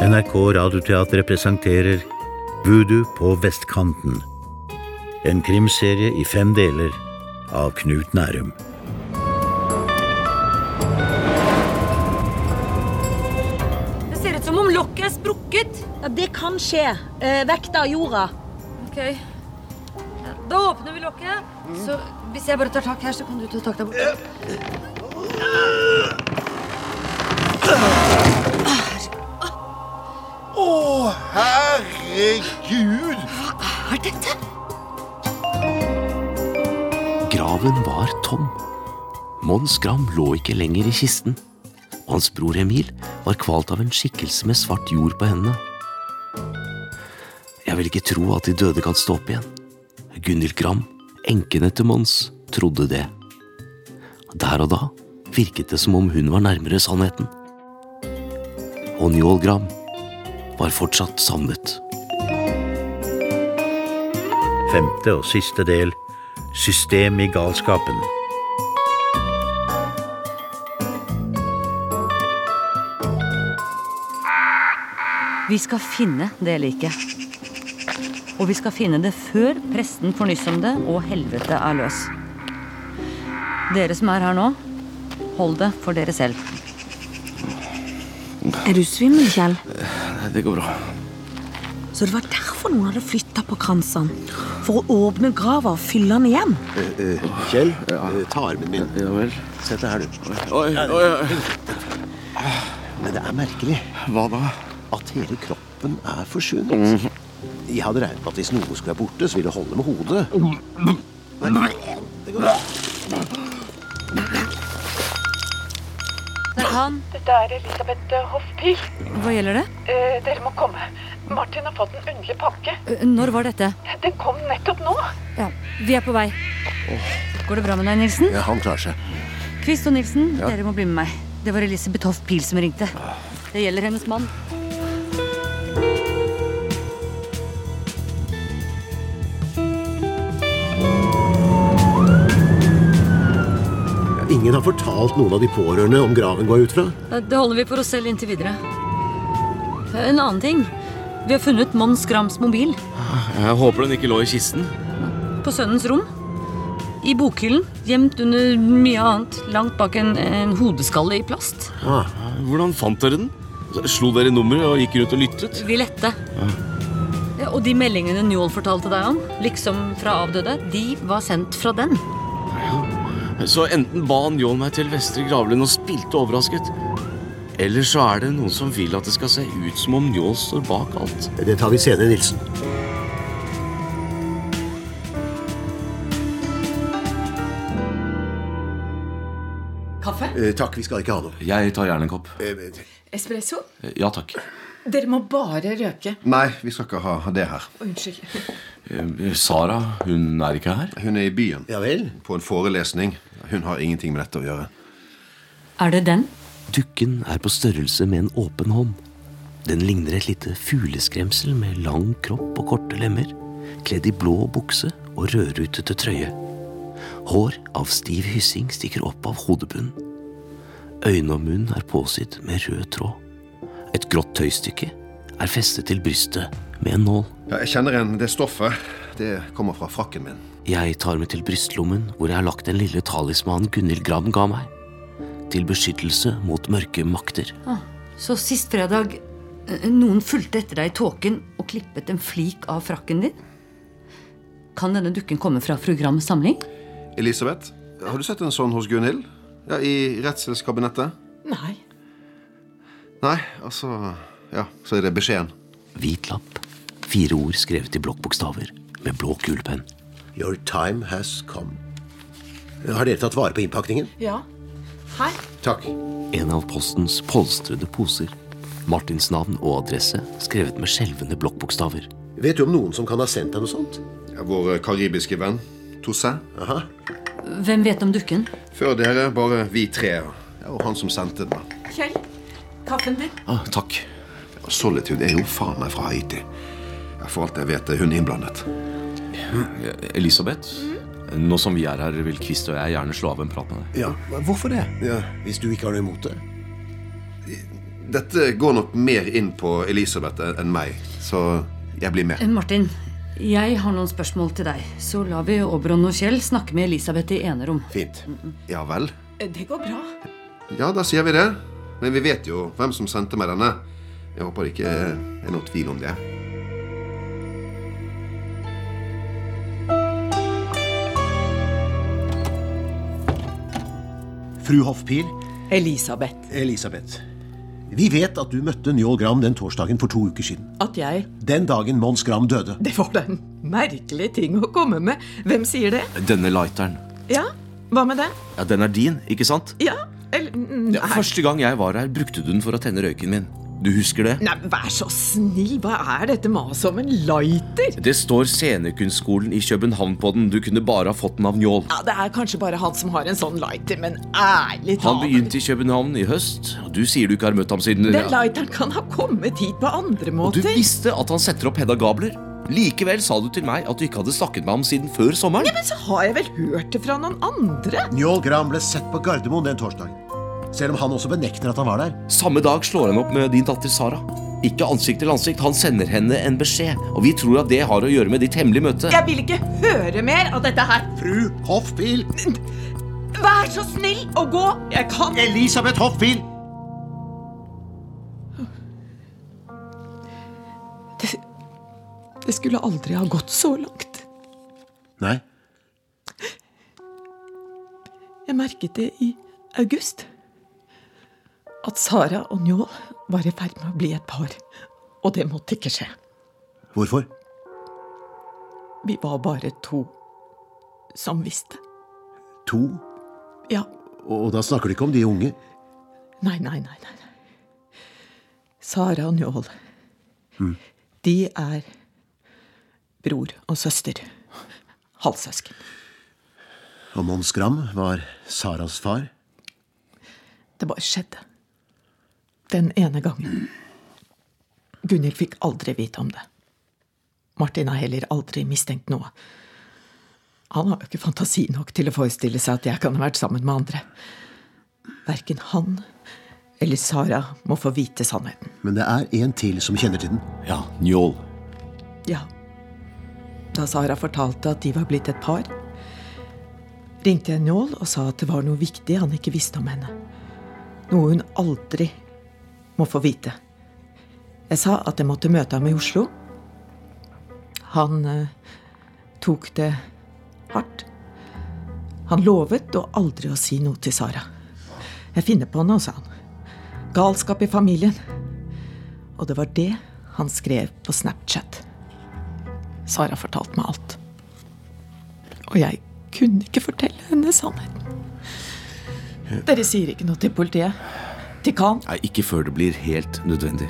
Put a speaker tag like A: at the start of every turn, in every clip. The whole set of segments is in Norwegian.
A: NRK Radioteater presenterer Voodoo på vestkanten. En krimserie i fem deler av Knut Nærum.
B: Det ser ut som om lokket er sprukket.
C: Ja, det kan skje. Eh, vekta av jorda.
B: Ok. Ja, Da åpner vi lokket. Så hvis jeg bare tar tak her, så kan du ta tak der borte.
D: Å, herregud!
B: Hva er dette?
E: Graven var tom. Mons Gram lå ikke lenger i kisten. Og hans bror Emil var kvalt av en skikkelse med svart jord på hendene. Jeg vil ikke tro at de døde kan stå opp igjen. Gunhild Gram, enken etter Mons, trodde det. Der og da virket det som om hun var nærmere sannheten. Og Njål Gram var fortsatt savnet.
A: Femte og siste del System i galskapen.
F: Vi skal finne det liket. Og vi skal finne det før presten får nyss om det og helvete er løs. Dere som er her nå, hold det for dere selv.
C: Er du svimmel, Kjell?
E: Det går bra.
C: Så det var derfor noen hadde flytta på kransene? For å åpne grava og fylle den igjen?
D: Kjell, eh, ta armen min.
E: Ja vel.
D: Sett deg her, du.
E: Oi, oi, oi.
D: Men det er merkelig
E: Hva da? Mhm.
D: at hele kroppen er forsvunnet. Jeg hadde regnet med at hvis noe skulle være borte, så ville det holde med hodet. Nei, det går bra.
F: Det er han.
G: Det er Elisabeth Hoffpil.
F: Hva gjelder det?
G: Eh, dere må komme. Martin har fått en underlig pakke.
F: Ø, Når var dette?
G: Den kom nettopp nå.
F: Ja, vi er på vei. Går det bra med deg, Nilsen?
D: Ja, han klarer seg.
F: Kvist og Nilsen, dere må bli med meg. Det var Elisabeth Hoff Pil som ringte. Det gjelder hennes mann.
D: Ingen har fortalt noen av de pårørende om graven går ut fra.
F: Det holder vi for oss selv inntil videre. Eh, En annen ting. Vi har funnet Mons Grams mobil.
E: Jeg håper den ikke lå i kisten.
F: på sønnens rom. I bokhyllen, gjemt under mye annet, langt bak en, en hodeskalle i plast.
E: Hvordan fant dere den? Slo dere nummeret og gikk rundt og lyttet?
F: Vi lette. Ja, og de meldingene Njål fortalte deg om, liksom fra avdøde, de var sendt fra den.
E: Så enten ba han John meg til Vestre Gravlund og spilte overrasket, eller så er det noen som vil at det skal se ut som om Njål står bak alt.
D: Det tar vi senere, Nilsen.
G: Kaffe?
D: Eh, takk, vi skal ikke ha noe.
E: Jeg tar gjerne en kopp.
D: Eh,
G: Espresso?
E: Ja takk.
G: Dere må bare røke.
H: Nei, vi skal ikke ha det her.
G: Unnskyld.
E: Eh, Sara, hun er ikke her?
H: Hun er i byen
D: ja vel?
H: på en forelesning. Hun har ingenting med dette å gjøre.
F: Er det den?
E: Dukken er på størrelse med en åpen hånd. Den ligner et lite fugleskremsel med lang kropp og korte lemmer, kledd i blå bukse og rødrutete trøye. Hår av stiv hyssing stikker opp av hodebunnen. Øyne og munn er påsydd med rød tråd. Et grått tøystykke er festet til brystet med en nål.
H: Ja, jeg kjenner igjen det stoffet. Det kommer fra frakken min.
E: Jeg tar meg til brystlommen hvor jeg har lagt den lille talismanen Gunhild Gram ga meg. Til beskyttelse mot mørke makter.
F: Ah, Så sist fredag eh, noen fulgte etter deg i tåken og klippet en flik av frakken din? Kan denne dukken komme fra fru Grams samling?
H: Elisabeth, har du sett en sånn hos Gunhild? Ja, I redselskabinettet?
G: Nei.
H: Nei, altså Ja, så er det beskjeden.
E: Hvit lapp. Fire ord skrevet i blokkbokstaver med blå kulepenn.
D: Your time has come. Har dere tatt vare på innpakningen?
G: Ja. Her.
H: Takk.
E: En av postens polstrede poser. Martins navn og adresse skrevet med skjelvende blokkbokstaver.
D: Vet du om noen som kan ha sendt deg noe sånt?
H: Ja, vår karibiske venn Toussaint.
D: Aha.
F: Hvem vet om dukken?
H: Før dere, bare vi tre. Ja, og han som sendte den.
G: Kjell, kaffen din.
E: Ah, takk.
H: Solitude er jo faen meg fra Haiti. Ja, For alt jeg vet, er hun innblandet.
E: Elisabeth, nå som vi er her, vil Kvist og jeg gjerne slå av en prat med deg.
D: Ja, Hvorfor det? Hvis du ikke har noe imot det.
H: Dette går nok mer inn på Elisabeth enn meg, så jeg blir med.
F: Eh, Martin, jeg har noen spørsmål til deg. Så lar vi Oberon og Kjell snakke med Elisabeth i enerom.
H: Fint. Ja vel?
G: Eh, Det går bra.
H: Ja, da sier vi det. Men vi vet jo hvem som sendte meg denne. Jeg håper det ikke er noe tvil om det.
D: Fru Hoffpil,
G: Elisabeth,
D: Elisabeth. Vi vet at du møtte Njål Gram den torsdagen for to uker siden.
G: at jeg
D: Den dagen Mons Gram døde.
G: Det var da en merkelig ting å komme med. Hvem sier det?
E: Denne lighteren.
G: Ja, hva med det?
E: Ja, Den er din, ikke sant?
G: Ja, eller Nei,
E: Ja, første gang jeg var her, brukte du den for å tenne røyken min. Du husker det?
G: nei vær så snill, hva er dette maset om en lighter?
E: Det står Scenekunstskolen i København på den. Du kunne bare ha fått den av Njål.
G: Ja, Det er kanskje bare han som har en sånn lighter, men ærlig
E: Han
G: talt
E: begynte i København i høst, og du sier du ikke har møtt ham siden
G: Den lighteren kan ha kommet hit på andre
E: Og du
G: måter.
E: visste at han setter opp Hedda Gabler. Likevel sa du til meg at du ikke hadde snakket med ham siden før sommeren.
G: Men så har jeg vel hørt det fra noen andre.
D: Njål Gram ble sett på Gardermoen den torsdagen. Selv om han også benekter at han var der.
E: Samme dag slår han opp med din datter Sara. Ikke ansikt til ansikt, han sender henne en beskjed. Og vi tror at det har å gjøre med ditt hemmelige møte.
G: Jeg vil ikke høre mer av dette her.
D: Fru Hoffpil!
G: Vær så snill å gå. Jeg kan
D: Elisabeth Hoffpil!
G: Det skulle aldri ha gått så langt.
D: Nei,
G: Jeg merket det i august. At Sara og Njål var i ferd med å bli et par. Og det måtte ikke skje.
D: hvorfor?
G: Vi var bare to som visste.
D: To?
G: Ja.
D: Og da snakker du ikke om de unge.
G: Nei, nei, nei. nei. Sara og Njål.
D: Mm.
G: De er bror og søster. Halvsøsken.
D: Og Mons Gram var Saras far.
G: Det bare skjedde. Den ene gangen. Gunhild fikk aldri vite om det. Martin har heller aldri mistenkt noe. Han har jo ikke fantasi nok til å forestille seg at jeg kan ha vært sammen med andre. Verken han eller Sara må få vite sannheten.
D: Men det er en til som kjenner til den.
E: Ja, Njål.
G: Ja. Da Sara fortalte at de var blitt et par, ringte jeg Njål og sa at det var noe viktig han ikke visste om henne. Noe hun aldri må få vite. Jeg sa at jeg måtte møte ham i Oslo. Han eh, tok det hardt. Han lovet å aldri å si noe til Sara. Jeg finner på noe, sa han. Galskap i familien. Og det var det han skrev på Snapchat. Sara fortalte meg alt. Og jeg kunne ikke fortelle henne sannheten. Dere sier ikke noe til politiet? Til Khan?
E: Nei, ikke før det blir helt nødvendig.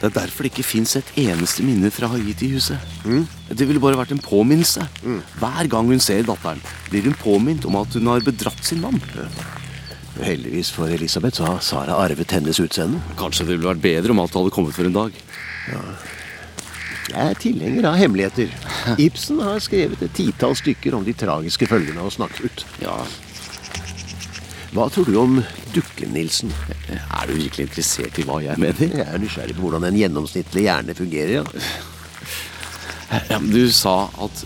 E: Det er derfor det ikke fins et eneste minne fra Haiti-huset. Det ville bare vært en påminnelse. Hver gang hun ser datteren, blir hun påminnet om at hun har bedratt sin mann.
D: Heldigvis for Elisabeth så har Sara arvet hennes utseende.
E: Kanskje det ville vært bedre om alt hadde kommet for en dag.
D: Jeg er tilhenger av hemmeligheter. Ibsen har skrevet et titall stykker om de tragiske følgene av å snakke ut.
E: Ja,
D: Hva tror du om Dukke-Nilsen?
E: Er du virkelig interessert i hva jeg mener?
D: Jeg er nysgjerrig på hvordan en gjennomsnittlig hjerne fungerer. Ja.
E: Ja, men du sa at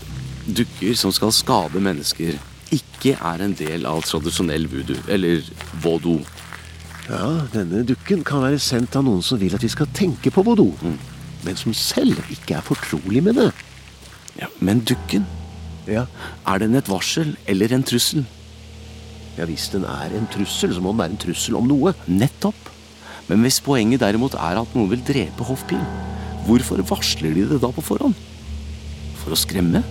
E: dukker som skal skade mennesker, ikke er en del av tradisjonell voodoo, eller voodoo.
D: ja, Denne dukken kan være sendt av noen som vil at vi skal tenke på Bodø,
E: Mm.
D: men som selv ikke er fortrolig med det.
E: Ja, men dukken,
D: Ja,
E: er den et varsel eller en trussel?
D: ja Hvis den er en trussel, så må den være en trussel om noe.
E: Nettopp. Men hvis poenget derimot er at noen vil drepe hoffpil, hvorfor varsler de det da på forhånd? For å skremme?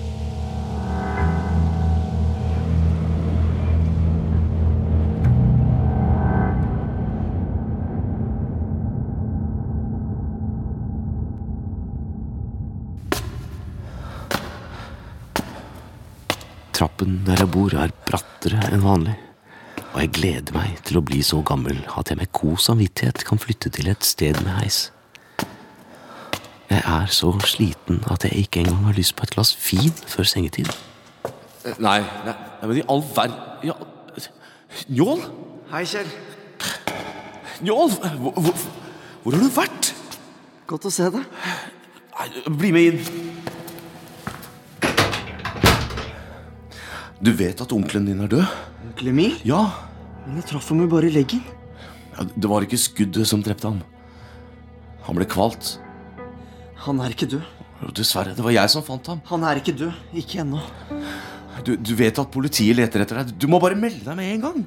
E: Trappen der jeg bor er brattere enn vanlig. Og jeg gleder meg til å bli så gammel at jeg med god samvittighet kan flytte til et sted med heis. Jeg er så sliten at jeg ikke engang har lyst på et glass vin før sengetid. Nei, nei, nei men i all verden ja, Njål?
I: Hei, Kjell.
E: Njål? Hvor, hvor, hvor har du vært?
I: Godt å se deg.
E: Nei, bli med inn. Du vet at onkelen din er død?
I: Onkelen min?
E: Ja.
I: Men jeg traff ham jo bare i leggen.
E: ja det var ikke skuddet som drepte ham. Han ble kvalt.
I: Han er ikke død.
E: Dessverre. Det var jeg som fant ham.
I: Han er ikke død. Ikke ennå.
E: Du, du vet at politiet leter etter deg. Du må bare melde deg med en gang.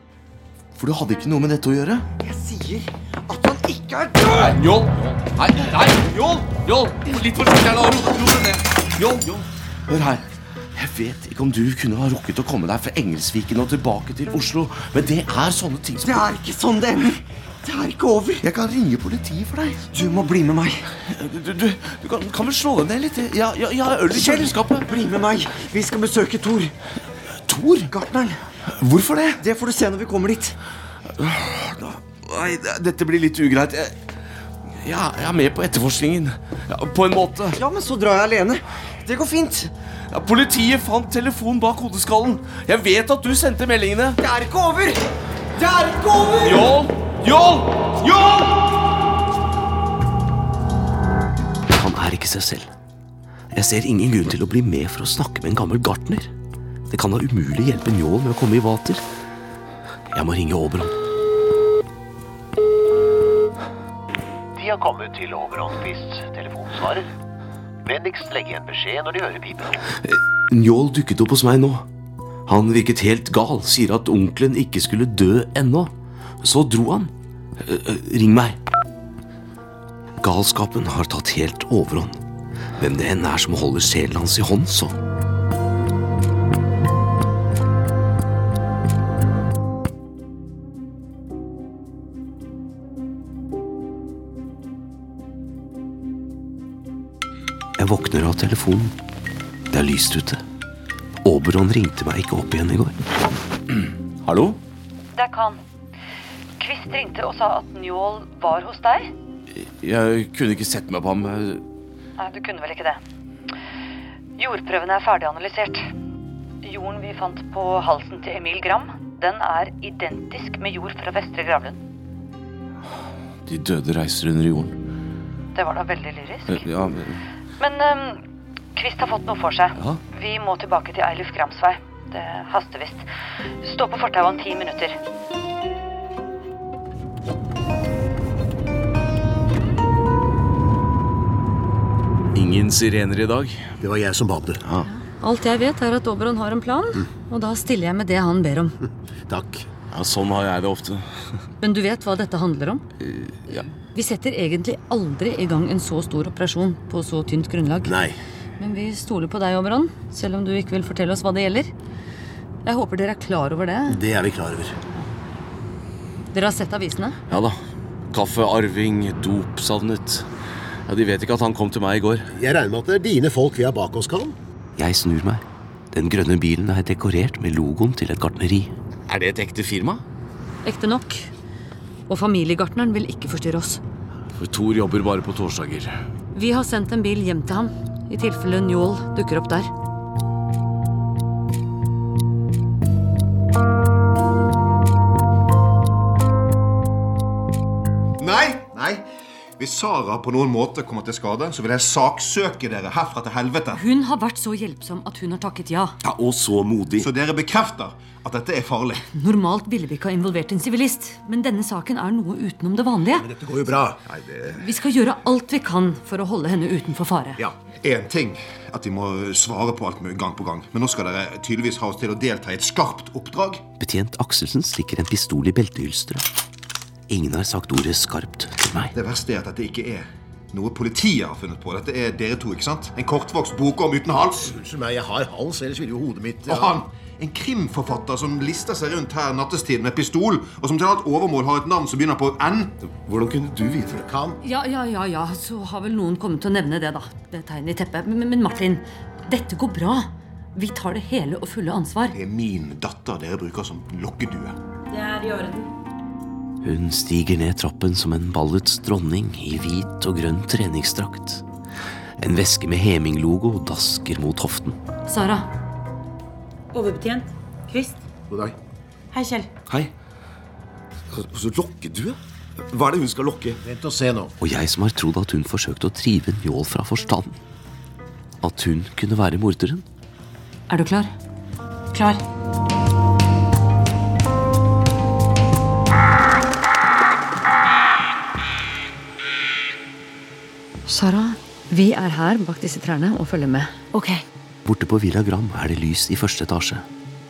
E: For du hadde ikke noe med dette å gjøre.
I: Jeg sier at han ikke er død!
E: Nei, Njål! Nei, nei, Njål! Njål! Litt forsiktig her nå. Ro ro deg ned. Njål! Njål! Hør her. Jeg vet ikke om du kunne ha rukket å komme deg fra Engelsviken og tilbake til Oslo, men det er sånne ting som
I: Det er ikke sånn det ender. Det er ikke over.
E: Jeg kan ringe politiet for deg.
I: Du må bli med meg.
E: Du, du, du kan, kan vel slå deg ned litt? Ja, ja, ja øl i kjøleskapet.
I: Bli med meg. Vi skal besøke Thor.
E: Tor?
I: Gartneren.
E: Hvorfor det?
I: Det får du se når vi kommer dit.
E: Nei, det- dette blir litt ugreit. Jeg, ja, jeg er med på etterforskningen. Ja, på en måte.
I: Ja, men så drar jeg alene. Det går fint.
E: Ja, politiet fant telefonen bak hodeskallen. Jeg vet at du sendte meldingene.
I: Det er ikke over! Det er ikke over!
E: Jål! Jål! Jål! Han er ikke seg selv. Jeg ser ingen grunn til å bli med for å snakke med en gammel gartner. Det kan da umulig hjelpe Njål med å komme i vater. Jeg må ringe Oberon.
D: De har kommet til Oberonspist telefonsvarer. Vennligst legg igjen beskjed når de hører pipen.
E: Njål dukket opp hos meg nå. Han virket helt gal, sier at onkelen ikke skulle dø ennå. Så dro han. Eh, eh, Ring meg. Galskapen har tatt helt overhånd. Hvem det enn er som holder sjelen hans i hånd, så. Jeg våkner av telefonen. Det er lyst ute. Oberon ringte meg ikke opp igjen i går. Hallo?
F: Det er Kan. Kvist ringte og sa at Njål var hos deg.
E: Jeg kunne ikke sett meg på ham.
F: Nei, du kunne vel ikke det. Jordprøvene er ferdiganalysert. Jorden vi fant på halsen til Emil Gram, den er identisk med jord fra Vestre Gravlund.
E: De døde reiser under jorden.
F: Det var da veldig lyrisk.
E: Eh, Ja,
F: Men ehm, Kvist har fått noe for seg.
E: Ja.
F: Vi må tilbake til Eilif Grams vei. Det haster visst. Stå på fortauet om ti minutter.
E: Ingen sirener i dag.
J: Det var jeg som ba om det.
F: Alt jeg vet, er at Oberon har en plan, og da stiller jeg med det han ber om.
J: Takk.
E: Ja, Sånn har jeg det ofte.
F: Men du vet hva dette handler om?
E: ja.
F: Vi setter egentlig aldri i gang en så stor operasjon på så tynt grunnlag.
J: Nei.
F: Men vi stoler på deg, Oberon, selv om du ikke vil fortelle oss hva det gjelder. Jeg håper dere er klar over det.
J: Det er vi klar over.
F: Dere har sett avisene?
E: Ja da. Kaffearving, dop savnet. Ja, De vet ikke at han kom til meg i går.
J: Jeg regner med at det er dine folk vi har bak oss, Kan?
E: Jeg snur meg. Den grønne bilen er dekorert med logoen til et gartneri. Er det et ekte firma?
F: Ekte nok. Og familiegartneren vil ikke forstyrre oss.
E: For Thor jobber bare på torsdager.
F: Vi har sendt en bil hjem til ham, i tilfelle Njål dukker opp der.
K: Nei! Nei! Hvis Sara på noen måte kommer til skade, så vil jeg saksøke dere herfra til helvete.
F: Hun har vært så hjelpsom at hun har takket ja.
E: Ja, Og så modig.
K: Så dere bekrefter at dette er farlig.
F: Normalt ville vi ikke ha involvert en sivilist, men denne saken er noe utenom det vanlige.
J: Dette går jo bra.
K: Nei, det
F: Vi skal gjøre alt vi kan for å holde henne utenfor fare.
K: Ja. Én ting at de må svare på alt med gang på gang, men nå skal dere tydeligvis ha oss til å delta i et skarpt oppdrag.
E: Betjent Akselsen stikker en pistol i beltehylsteret. Ingen har sagt ordet skarpt til meg.
K: Det verste er at dette ikke er noe politiet har funnet på. Dette er dere to, ikke sant? En kortvokst bokorm uten hals.
J: Unnskyld meg, jeg har hals, ellers ville jo hodet mitt
K: Og han, en krimforfatter som lister seg rundt her nattestid med pistol, og som til alt overmål har et navn som begynner på N.
J: Hvordan kunne du vite det? Kan?
F: Ja, ja, ja, ja, så har vel noen kommet til å nevne det, da. Det tegnet i teppet. Men, men Martin, dette går bra. Vi tar det hele og fulle ansvar.
K: Det er min datter dere bruker som lokkedue.
F: Det er i orden.
E: Hun stiger ned trappen som en ballets dronning i hvit og grønn treningsdrakt. En veske med Heming-logo dasker mot hoften.
F: Sara,
L: Overbetjent. Kvist.
K: God dag.
L: Hei, Kjell.
E: Hei.
K: Og så lokkedue? Hva er det hun skal lokke? Vent og se nå.
E: Og jeg som har trodd at hun forsøkte å drive Njål fra forstanden. At hun kunne være morderen.
F: Er du klar? Klar. Sara, vi er her bak disse trærne og følger med. Ok.
E: Borte på Villa Gram er det lys i første etasje.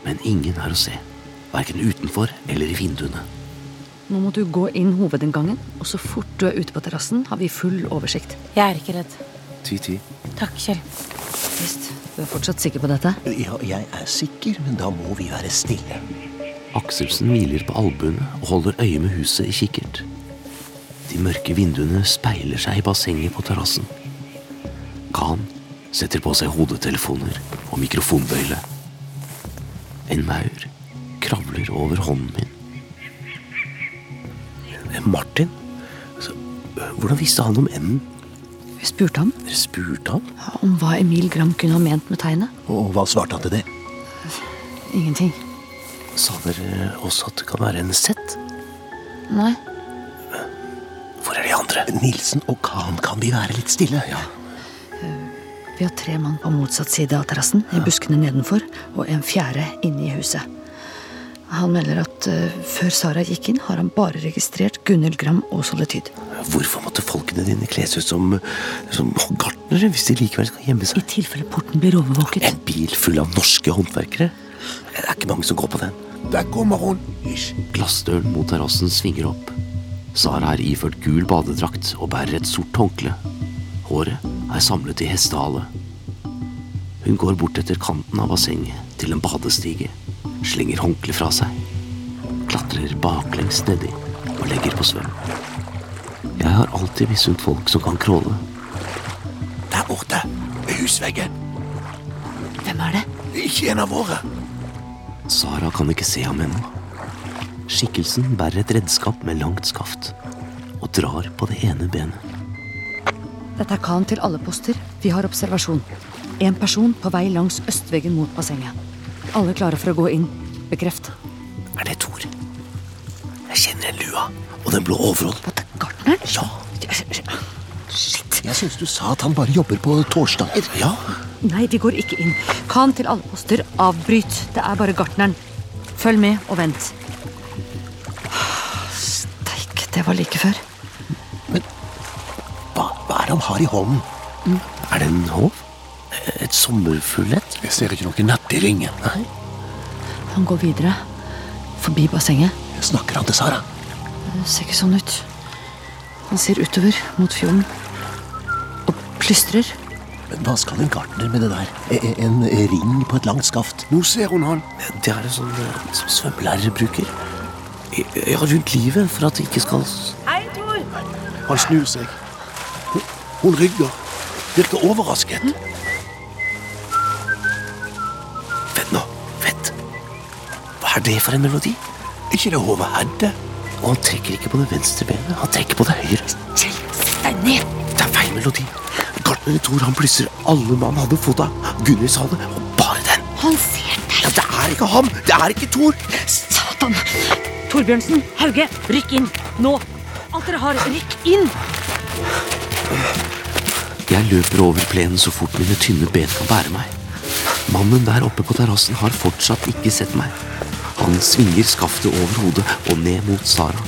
E: Men ingen er å se. Verken utenfor eller i vinduene.
F: Nå må du gå inn hovedinngangen, og så fort du er ute på terrassen, har vi full oversikt.
L: Jeg er ikke redd.
E: Ti-ti.
L: Takk, Kjell.
F: Visst. Du er fortsatt sikker på dette?
D: Ja, jeg er sikker, men da må vi være stille.
E: Akselsen hviler på albuene og holder øye med huset i kikkert. De mørke vinduene speiler seg i bassenget på terrassen. Khan setter på seg hodetelefoner og mikrofonbøyle. En maur kravler over hånden min. Eh, Martin? Altså, Hvordan visste han om enden?
F: Vi spurte ham
E: Dere spurte ham?
F: om hva Emil Gram kunne ha ment med tegnet.
E: Og hva svarte han til det?
F: Ingenting.
E: Sa dere eh, også at det kan være en sett?
F: Nei.
E: Hvor er de andre?
D: Nilsen og Khan, kan vi være litt stille? Ja.
F: Eh, Vi har tre mann på motsatt side av terrassen, i buskene nedenfor, og en fjerde inne i huset. Han melder at eh, før Sara gikk inn, har han bare registrert Gunhild Gram og Solitude.
E: Hvorfor måtte folkene dine kles ut som, eh, som gartnere hvis de likevel skal gjemme seg?
F: I tilfelle porten blir overvåket.
E: En bil full av norske håndverkere? Det er ikke mange som går på den.
K: Der kommer hun.
E: Glassdøren mot terrassen svinger opp. Sara er iført gul badedrakt og bærer et sort håndkle. Håret er samlet i hestehale. Hun går bort etter kanten av bassenget til en badestige, slenger håndkleet fra seg, klatrer baklengs nedi og legger på svøm. Jeg har alltid misunt folk som kan kråle.
K: Der borte. Ved husveggen.
F: Hvem er det?
K: Ikke en av våre.
E: Sara kan ikke se ham ennå. Skikkelsen bærer et redskap med langt skaft og drar på det ene benet.
F: Dette er Khan til alle poster. Vi har observasjon. En person på vei langs østveggen mot bassenget. Alle klare for å gå inn. Bekreft.
E: Er det Thor? Jeg kjenner en lua og den blå overhold.
F: Gartneren?
E: Ja.
D: Shit. Jeg syns du sa at han bare jobber på torsdager. Ja.
F: Nei, de går ikke inn. Khan til alle poster. Avbryt. Det er bare gartneren. Følg med og vent. Steik, det var like før.
D: Hva, hva er det han har i hånden?
E: Mm. Er det en håv? Et sommerfuglett?
D: Jeg ser ikke noe nett i ringen. Nei.
F: Han går videre. Forbi bassenget.
D: Snakker han til Sara?
F: Det ser ikke sånn ut. Han ser utover, mot fjorden. Og plystrer.
D: Men hva skal en gartner med det der? E- e- En ring på et langt skaft?
K: Nå ser hun han.
E: Det er en sånn eh, som svømmelærere bruker. I- Ja, rundt livet for at det ikke skal s-
L: Hei, Tor.
K: Han snur seg. Hun, hun rygger. Virker overrasket.
L: Hm?
E: Vent nå. Vent. Hva er det for en melodi? Ikke det Håve Hedde? Og han trekker ikke på det venstre benet, han trekker på det høyre.
F: Deg ned!
E: Det er feil melodi. Gartner Thor han plysser alle mann hadde fot av. Gunnhild sa det, og bare den.
F: Han ser deg!
E: Ja, det er ikke ham! Det er ikke Thor!
F: Satan! Torbjørnsen, Hauge, rykk inn! Nå! Alt dere har, rykk inn!
E: Jeg løper over plenen så fort mine tynne ben kan bære meg. Mannen der oppe på terrassen har fortsatt ikke sett meg. Han svinger skaftet over hodet og ned mot Sara.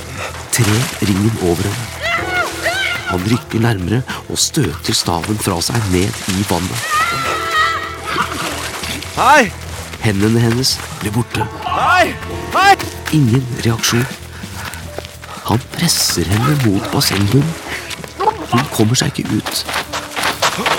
E: Tre ringen over henne. Han rykker nærmere og støter staven fra seg ned i vannet.
K: Hei!
E: Hendene hennes blir borte.
K: Hei! Hei!
E: Ingen reaksjon. Han presser henne mot bassengbunnen. Hun kommer seg ikke ut.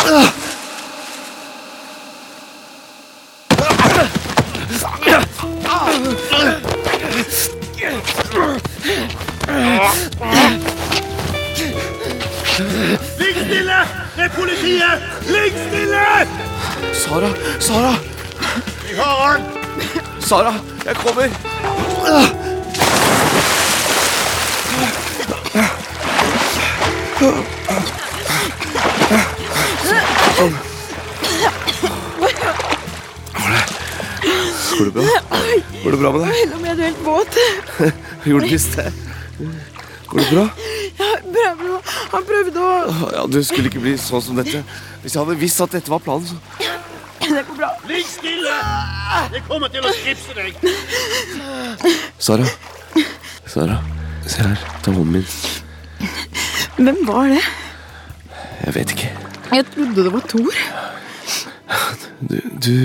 K: Ligg stille! Det er politiet! Ligg stille!
E: Sara! Sara!
K: Vi har han!
E: Sara, jeg kommer!
K: Sånn. Var det
I: Går det bra med deg?
M: Selv om jeg er helt våt.
I: Gjorde det visst det. Går det bra?
M: Ja, bra, bra. Han prøvde å
I: Ja, Du skulle ikke bli sånn som dette. Hvis jeg hadde visst at dette var planen, så
M: Det går bra.
N: Ligg stille! Jeg kommer til å skripse deg.
I: Sara. Sara. Se her. Ta hånden min.
M: Hvem var det?
I: Jeg vet ikke.
M: Jeg trodde det var Thor.
I: Du Du,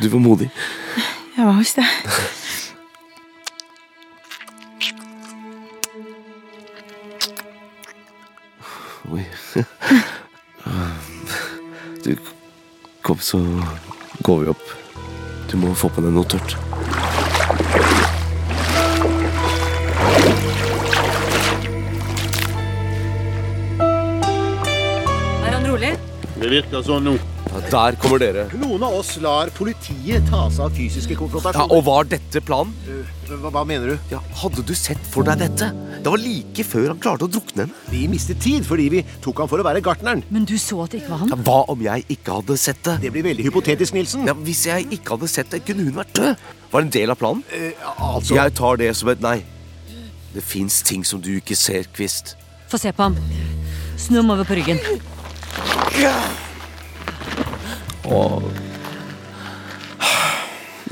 I: du var modig.
M: Jeg var visst det.
I: Oi. Du, kom, så går vi opp. Du må få på deg noe tørt.
F: Er han rolig?
I: Det virker sånn nå. der kommer dere.
D: Noen av oss lar politiet ta seg av fysiske
I: Ja,
D: konfrontasjoner.
I: og var dette planen?
N: Eh,
D: Hva, hva mener du?
I: Ja, hadde du sett for deg dette? Det var like før han klarte å drukne henne.
D: Vi mistet tid fordi vi tok han for å være gartneren.
F: Men du så at det ikke var
I: Ja,
F: han?
I: hva om jeg ikke hadde sett det?
D: Det blir veldig hypotetisk, Nilsen.
I: Ja, hvis jeg ikke hadde sett det, kunne hun vært død. Var det en del av planen?
D: altså-
I: Jeg tar det som et nei. Det fins ting som du ikke ser, Kvist.
F: Få se på ham. Snu ham over på ryggen.
I: Og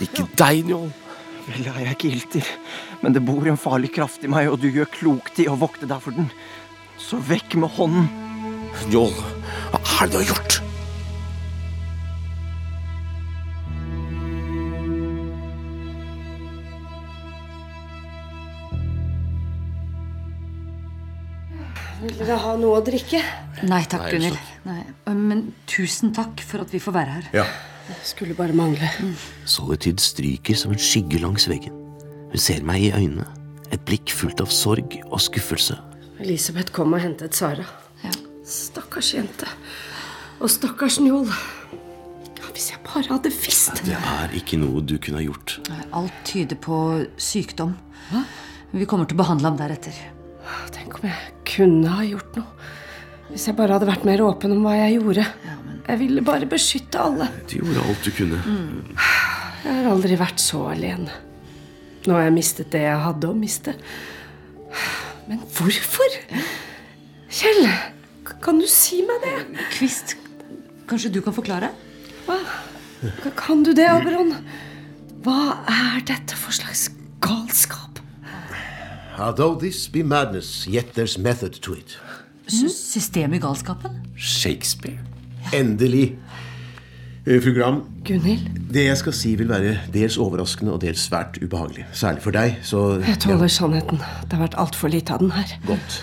I: Ikke deg, Njål.
N: Vel, jeg er ikke ilter, men det bor en farlig kraft i meg, og du gjør klokt i å vokte deg for den. Så vekk med hånden.
I: Njål, hva er det du har gjort?
F: Vil dere ha noe å drikke? Nei takk,
O: Nei,
F: Gunhild. Nei, Men tusen takk for at vi får være her. Mm.
I: Ja.
O: Skulle bare mangle.
E: Solitude stryker som en skygge langs veggen. Hun ser meg i øynene. Et blikk fullt av sorg og skuffelse.
O: Elisabeth kom og hentet Sara. Stakkars jente. Og stakkars Njol. Ja, Hvis jeg bare hadde visst
E: Det er ikke noe du kunne ha gjort.
F: Nei, Alt tyder på sykdom. Vi kommer til å behandle ham deretter.
O: Tenk om jeg kunne ha gjort noe. Hvis jeg bare hadde vært mer åpen om hva jeg gjorde. Jeg ville bare beskytte alle.
E: Du gjorde alt du kunne.
O: Jeg har aldri vært så alene. Nå har jeg mistet det jeg hadde å miste. Men hvorfor? Kjell, k- kan du si meg det?
F: Kvist, kanskje du kan forklare?
O: Hva? K- Kan du det, Aberon? Hva er dette for slags galskap?
D: Although this be madness, yet there's method to it.
F: Sy-
O: Mm.
F: Systemet i galskapen?
D: Shakespeare. Endelig. Eh, Fru Gram,
O: Gunhild,
D: det jeg skal si vil være dels overraskende og dels svært ubehagelig. Særlig for deg, så
O: jeg tåler sannheten. Det har vært altfor lite av den her.
D: Godt.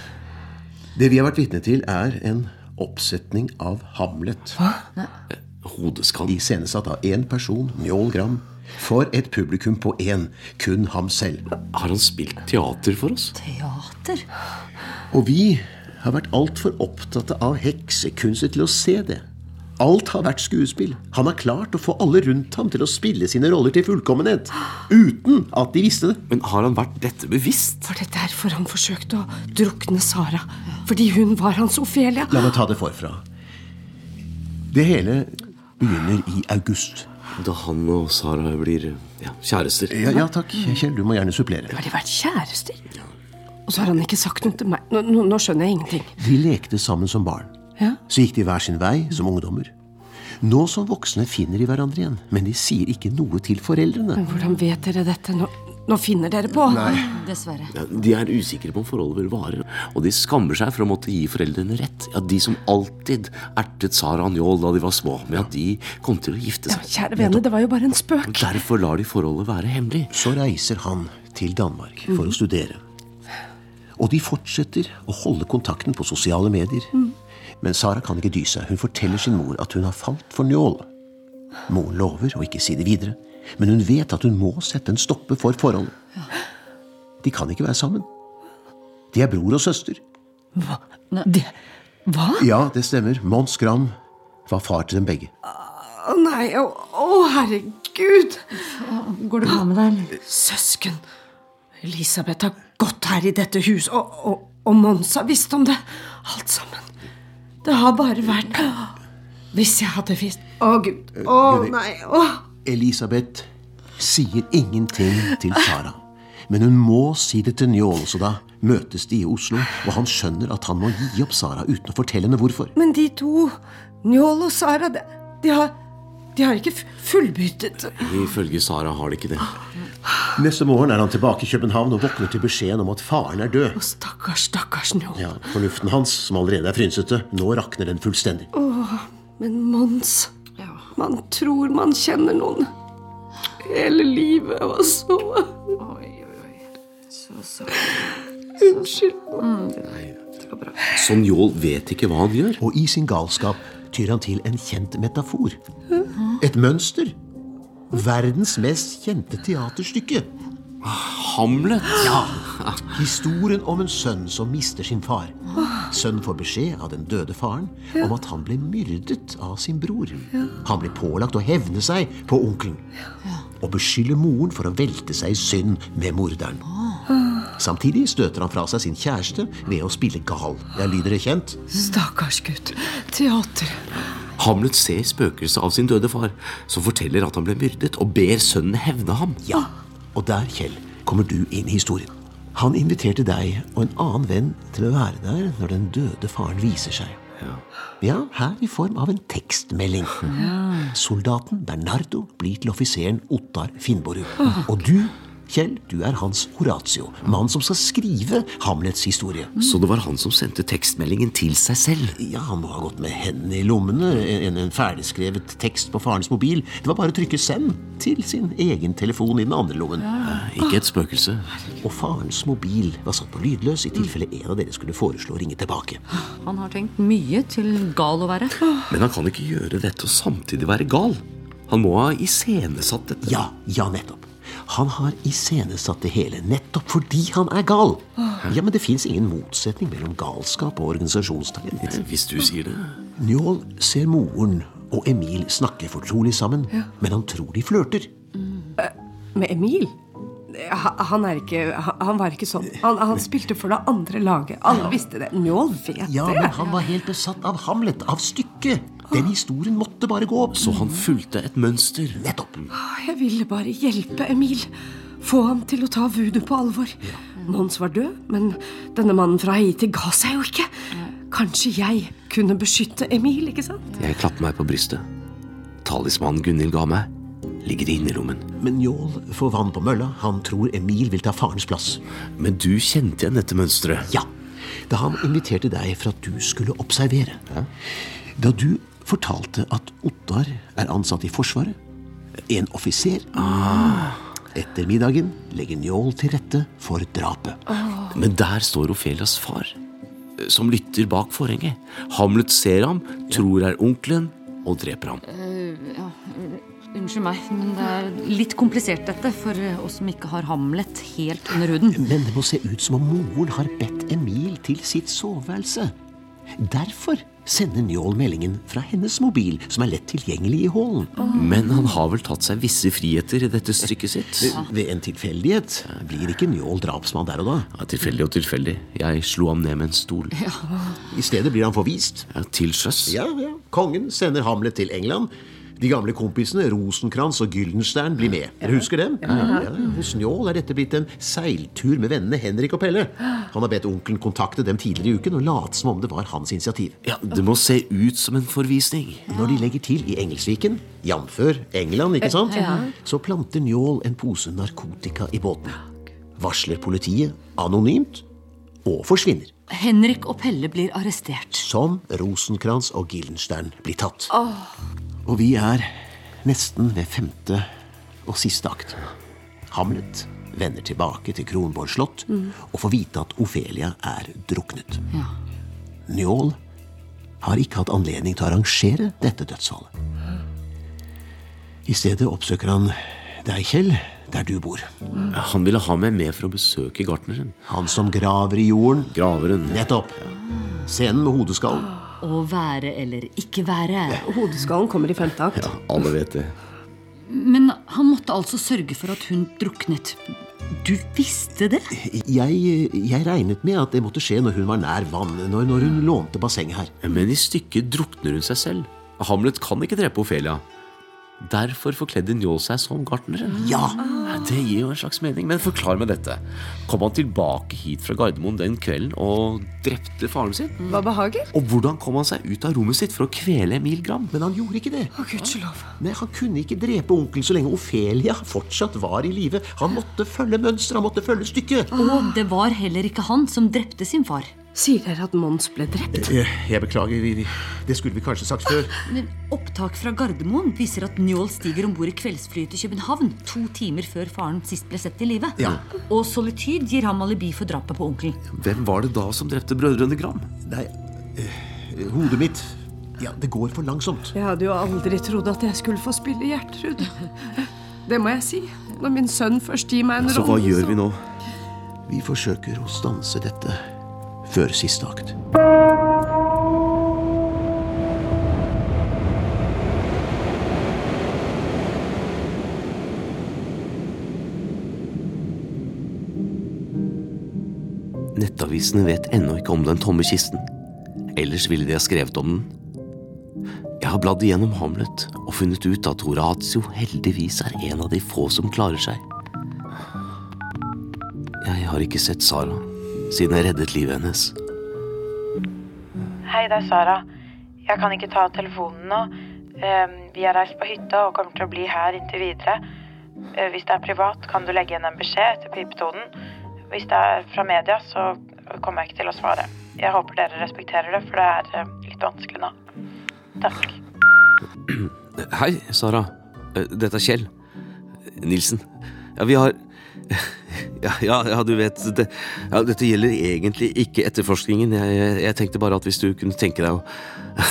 D: Det vi har vært vitne til, er en oppsetning av Hamlet.
F: Nei.
D: Hodeskall. Iscenesatt av én person, Njål Gram. For et publikum på én. Kun ham selv.
E: Har han spilt teater for oss?
F: Teater?
D: Og vi har vært altfor opptatt av heksekunster til å se det. Alt har vært skuespill. Han har klart å få alle rundt ham til å spille sine roller til fullkommenhet. Uten at de visste det.
E: Men har han vært dette bevisst?
O: Var det derfor han forsøkte å drukne Sara? Fordi hun var hans Ofelia?
D: La meg ta det forfra. Det hele begynner i august.
E: Da han og Sara blir ja, kjærester.
D: Ja, ja takk. Kjell, du må gjerne supplere.
O: Har de vært kjærester? Og så har han ikke sagt noe til meg. Nå, nå, nå skjønner jeg ingenting.
D: De lekte sammen som barn.
O: Ja.
D: Så gikk de hver sin vei som ungdommer. Nå som voksne finner de hverandre igjen, men de sier ikke noe til foreldrene.
O: Men hvordan vet dere dette? Nå, nå finner dere på.
E: Nei.
F: Dessverre.
E: Ja, de er usikre på om forholdet vil vare, og de skammer seg for å måtte gi foreldrene rett. Ja, De som alltid ertet Sara og Njål da de var små, med at de kom til å gifte seg.
O: Kjære vene, det var jo bare en spøk.
E: Derfor lar de forholdet være hemmelig.
D: Så reiser han til Danmark for
O: Mhm.
D: å studere. Og de fortsetter å holde kontakten på sosiale medier.
A: Mm.
D: Men Sara kan ikke dy seg. Hun forteller sin mor at hun har falt for Njål. Moren lover å ikke si det videre, men hun vet at hun må sette en stopper for forholdet. De kan ikke være sammen. De er bror og søster.
O: Hva? Det, hva?
D: Ja, det stemmer. Mons Gram var far til dem begge.
O: Å nei, å, å herregud. Går det bra med deg? Søsken. Elisabeth har gått her i dette hus, og, og, og Mons har visst om det. Alt sammen. Det har bare vært Hvis jeg hadde visst Å, gud. Å,
D: Guri.
O: nei. Å.
D: Elisabeth, sier ingenting til Sara. Men hun må si det til Njål, så da møtes de i Oslo, og han skjønner at han må gi opp Sara uten å fortelle henne hvorfor.
O: Men de to, Njål og Sara, de, de, har, de har ikke fu- fullbyttet
E: Ifølge Sara har de ikke det.
D: Neste morgen er han tilbake i København og våkner til beskjeden om at faren er død.
O: Stakkars, stakkars Njål.
D: Ja, Fornuften hans, som allerede er frynsete, nå rakner den fullstendig.
O: Åh, men Mons Man tror man kjenner noen hele livet, og så Unnskyld.
E: Så Njål vet ikke hva han gjør.
D: Og i sin galskap tyr han til en kjent metafor. Et mønster. Verdens mest kjente teaterstykke.
E: Hamlet?
D: Ja. Historien om en sønn som mister sin far. Sønnen får beskjed av den døde faren om at han ble myrdet av sin bror. Han blir pålagt å hevne seg på onkelen. Og beskylder moren for å velte seg i synd med morderen. Samtidig støter han fra seg sin kjæreste ved å spille gal. Jeg lyder det kjent?
O: Stakkars gutt. Teater.
E: Hamlet ser spøkelset av sin døde far, som forteller at han ble myrdet, og ber sønnen hevne ham.
D: Ja, Og der, Kjell, kommer du inn i historien. Han inviterte deg og en annen venn til å være der når den døde faren viser seg. Ja, her i form av en tekstmelding. Soldaten Bernardo blir til offiseren Ottar Finnborg. Og du, Kjell, du er hans Horatio. Mannen som skal skrive Hamlets historie.
E: Så det var han som sendte tekstmeldingen til seg selv?
D: Ja, han må ha gått med hendene i lommene. En, en ferdigskrevet tekst på farens mobil. Det var bare å trykke 'send' til sin egen telefon i den andre lommen.
E: Eh, Ikke et spøkelse.
D: Og farens mobil var satt på lydløs i tilfelle en av dere skulle foreslå å ringe tilbake.
F: Han har tenkt mye til gal å være.
E: Men han kan ikke gjøre dette og samtidig være gal. Han må ha iscenesatt dette.
D: Ja, ja, nettopp. Han har iscenesatt det hele nettopp fordi han er gal. Ja, Men det fins ingen motsetning mellom galskap og organisasjonstalent.
E: Hvis du sier det.
D: Njål ser moren og Emil snakke fortrolig sammen, men han tror de flørter.
O: Med Emil? Ha- Han, er ikke, han han var ikke sånn. Han, han spilte for det andre laget. Alle visste det. Njål vet
D: Ja,
O: det.
D: men han var helt besatt av Hamlet, av stykket. Den historien måtte bare gå opp.
E: Så han fulgte et mønster.
D: Nettopp.
O: Jeg ville bare hjelpe Emil. Få ham til å ta voodoo på alvor. Mons var død, men denne mannen fra Haiti ga seg jo ikke. Kanskje jeg kunne beskytte Emil, ikke sant?
E: Jeg klapper meg på brystet. Talismanen Gunhild ga meg, ligger i innerlommen.
D: Men Njål får vann på mølla. Han tror Emil vil ta farens plass.
E: Men du kjente igjen dette mønsteret?
D: Ja. Da han inviterte deg for at du skulle observere. Da du fortalte at Ottar er ansatt i Forsvaret. En offiser.
E: Ah.
D: Etter middagen legger Njål til rette for drapet.
E: Men der står Ofelias far, eh, som lytter bak forhenget. Hamlet ser ham, tror er onkelen, og dreper ham.
F: Eh, ja, unnskyld meg, men det er litt komplisert dette for øh, oss som ikke har Hamlet helt under huden.
D: Men det må se ut som om moren har bedt Emil til sitt soveværelse. Derfor sender Njål meldingen fra hennes mobil, som er lett tilgjengelig i hallen.
E: Men han har vel tatt seg visse friheter i dette stykket sitt?
D: Eh, Ved en tilfeldighet blir ikke Njål drapsmann der og da.
E: Ja, tilfeldig og tilfeldig. Jeg slo ham ned med en stol.
D: I stedet blir han forvist.
E: Ja, til sjøs.
D: Ja, ja. Kongen sender Hamlet til England. De gamle kompisene Rosenkrantz og Gyldenstern blir med. Dere husker dem? Ja, ja. Hos Njål er dette blitt en seiltur med vennene Henrik og Pelle. Han har bedt onkelen kontakte dem tidligere i uken og late som om det var hans initiativ.
E: Ja, Det må se ut som en forvisning.
D: Når de legger til i Engelsviken, jf. England, ikke sant?
E: Ja.
D: så planter Njål en pose narkotika i båten. Varsler politiet anonymt og forsvinner.
F: Henrik og Pelle blir arrestert.
D: Som Rosenkrantz og Gildenstern blir tatt. Og vi er nesten ved femte og siste akt. Hamlet vender tilbake til Kronborg slott
F: Mm.
D: og får vite at Ofelia er druknet.
F: Ja.
D: Njål har ikke hatt anledning til å arrangere dette dødsfallet. I stedet oppsøker han deg, Kjell, der du bor.
E: Han ville ha meg med for å besøke gartneren.
D: Han som graver i jorden.
E: Graveren.
D: Nettopp. Scenen med hodeskallen.
F: Å være eller ikke være.
O: Hodeskallen kommer i femte akt.
E: Alle vet det.
F: Men han måtte altså sørge for at hun druknet. Du visste det?
D: Jeg, jeg regnet med at det måtte skje når hun var nær vannet, når, når hun lånte bassenget her.
E: Men i stykket drukner hun seg selv. Hamlet kan ikke drepe Ofelia. Derfor forkledde Njål seg som gartnere. Ja! Det gir jo en slags mening. Men forklar meg dette. Kom han tilbake hit fra Gardermoen den kvelden og drepte faren sin?
M: Hva behager?
E: Og hvordan kom han seg ut av rommet sitt for å kvele Emil Gram?
D: Men han gjorde ikke det.
O: Å, gudskjelov.
D: Nei, Han kunne ikke drepe onkel så lenge Ofelia fortsatt var i live. Han måtte følge mønsteret, han måtte følge stykket.
F: Og det var heller ikke han som drepte sin far.
O: Ah. Sier dere at Mons ble drept?
D: Eh, Jeg beklager, vi- vi- det skulle vi kanskje sagt før.
F: Men Opptak fra Gardermoen viser at Njål stiger om bord i kveldsflyet til København to timer før faren sist ble sett i live.
E: Ja.
F: Og solitude gir ham alibi for drapet på onkelen.
E: Hvem var det da som drepte brødrene Gram?
D: Nei, eh, hodet mitt Ja, det går for langsomt.
O: Jeg hadde jo aldri trodd at jeg skulle få spille Gjertrud. Det må jeg si. Når min sønn først gir meg en rolle
D: vi nå? Vi forsøker å stanse dette før siste akt.
E: Nettavisene vet ennå ikke om den tomme kisten. Ellers ville de ha skrevet om den. Jeg har bladd igjennom Hamlet og funnet ut at Horatio heldigvis er en av de få som klarer seg. Jeg har ikke sett Sara siden jeg reddet livet hennes.
L: Hei, det er Sara. Jeg kan ikke ta telefonen nå. Ehm, Vi har reist på hytta og kommer til å bli her inntil videre. Eh, Hvis det er privat, kan du legge igjen en beskjed etter pipetonen. Hvis det er fra media, så kommer jeg ikke til å svare. Jeg håper dere respekterer det, for det er eh, litt vanskelig nå. Takk.
E: Hei, Sara. Eh, Dette er Kjell. Nilsen. Ja, vi har ja, ja, ja, du vet det, ja, Dette gjelder egentlig ikke etterforskningen. Jeg, jeg, jeg tenkte bare at hvis du kunne tenke deg å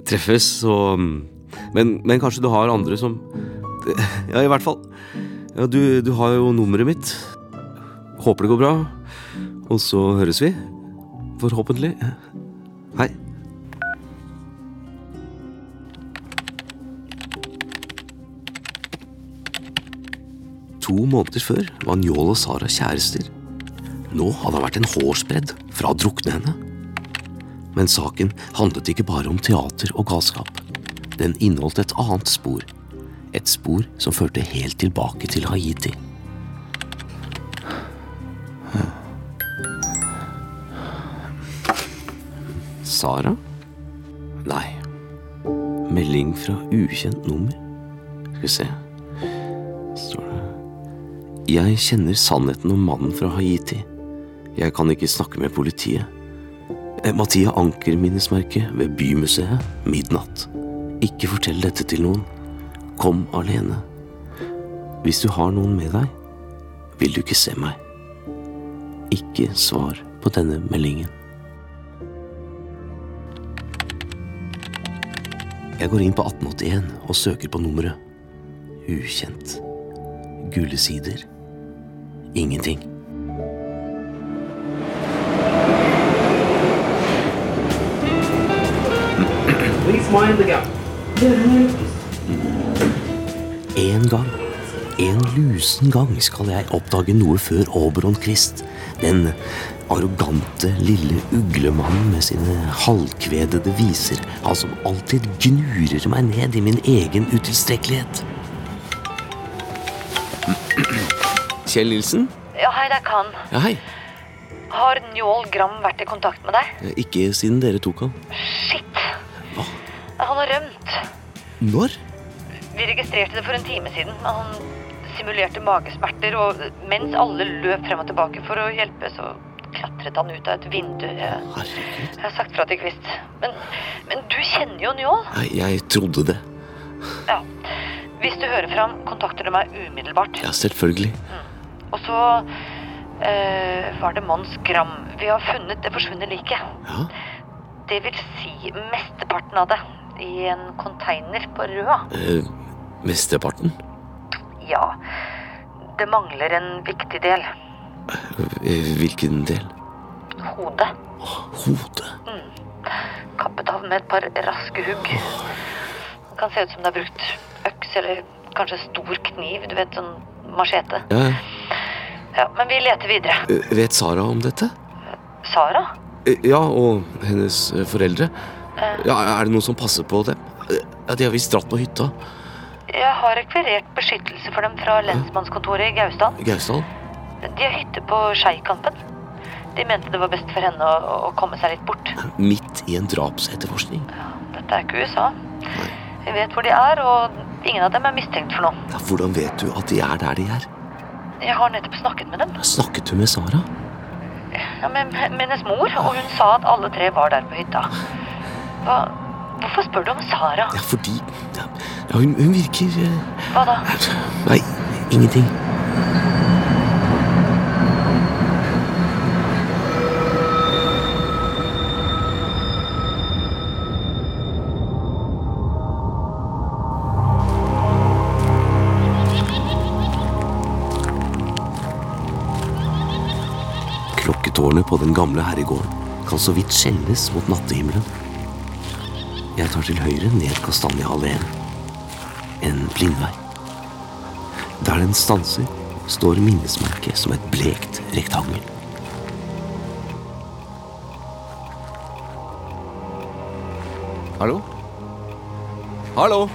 E: treffes, så mm, men, men kanskje du har andre som Ja, i hvert fall. Ja, du, du har jo nummeret mitt. Håper det går bra. Og så høres vi. Forhåpentlig. Hei. To måneder før var Njål og Sara kjærester. Nå hadde han vært en hårsbredd fra å drukne henne. Men saken handlet ikke bare om teater og galskap. Den inneholdt et annet spor. Et spor som førte helt tilbake til Haiti. Sara? Nei. Melding fra ukjent nummer. Skal vi se. Står det jeg kjenner sannheten om mannen fra Haiti. Jeg kan ikke snakke med politiet. Eh, Mathia Anker-minnesmerket ved Bymuseet, midnatt. Ikke fortell dette til noen. Kom alene. Hvis du har noen med deg, vil du ikke se meg. Ikke svar på denne meldingen. Jeg går inn på 1881 og søker på nummeret. Ukjent. Gule sider. Ingenting.
P: Please mind the gap.
E: En gang, en lusen gang, skal jeg oppdage noe før Oberon Quist. Den arrogante, lille uglemannen med sine halvkvedede viser. Han som alltid gnurer meg ned i min egen utilstrekkelighet. Kjell Nilsen?
Q: Ja, hei, det er Kan.
E: Ja, hei.
Q: Har Njål Gram vært i kontakt med deg?
E: Ikke siden dere tok han.
Q: Shit! Han har rømt.
E: Når?
Q: Vi registrerte det for en time siden. Han simulerte magesmerter, og mens alle løp frem og tilbake for å hjelpe, så klatret han ut av et vindu. Jeg, jeg har sagt fra til Kvist. Men, men du kjenner jo Njål.
E: Nei, jeg trodde det.
Q: Ja. Hvis du hører fra ham, kontakter du meg umiddelbart.
E: Ja, selvfølgelig.
Q: Og så eh, var det Mons Gram. Vi har funnet det forsvunne liket.
E: Ja.
Q: Det vil si mesteparten av det. I en container på Røa.
E: Eh, mesteparten?
Q: Ja. Det mangler en viktig del.
E: Eh, Hvilken del?
Q: Hodet.
E: Hodet?
Q: Mm. Kappet av med et par raske hugg. Det kan se ut som det er brukt øks eller kanskje stor kniv. Du vet, sånn machete.
E: Ja.
Q: Ja, men vi leter videre.
E: Eh, Vet Sara om dette?
Q: Sara?
E: Eh, Ja, og Eh, hennes eh, foreldre. Ja, Er det noen som passer på dem? Eh, Ja, De har visst dratt på hytta.
Q: Jeg har rekvirert beskyttelse for dem fra lensmannskontoret i Gausdal.
E: Gausdal?
Q: De har hytte på Skeikampen. De mente det var best for henne å, å komme seg litt bort.
E: Midt i en drapsetterforskning?
Q: Dette er ikke USA. Vi vet hvor de er, og ingen av dem er mistenkt for noe.
E: Ja, hvordan vet du at de er der de er?
Q: Jeg har nettopp snakket med dem.
E: Snakket du med Sara?
Q: Ja, med, med hennes mor, og hun sa at alle tre var der på hytta. Hva, hvorfor spør du om Sara?
E: Ja, fordi ja, hun, hun virker eh,
Q: Hva da?
E: Nei, ingenting. Klokketårnet på den gamle herregården kan så vidt skjelles mot nattehimmelen. Jeg tar til høyre ned Kastanjehalleen. En blindvei. Der den stanser, står minnesmerket som et blekt rektangel. Hallo? Hallo?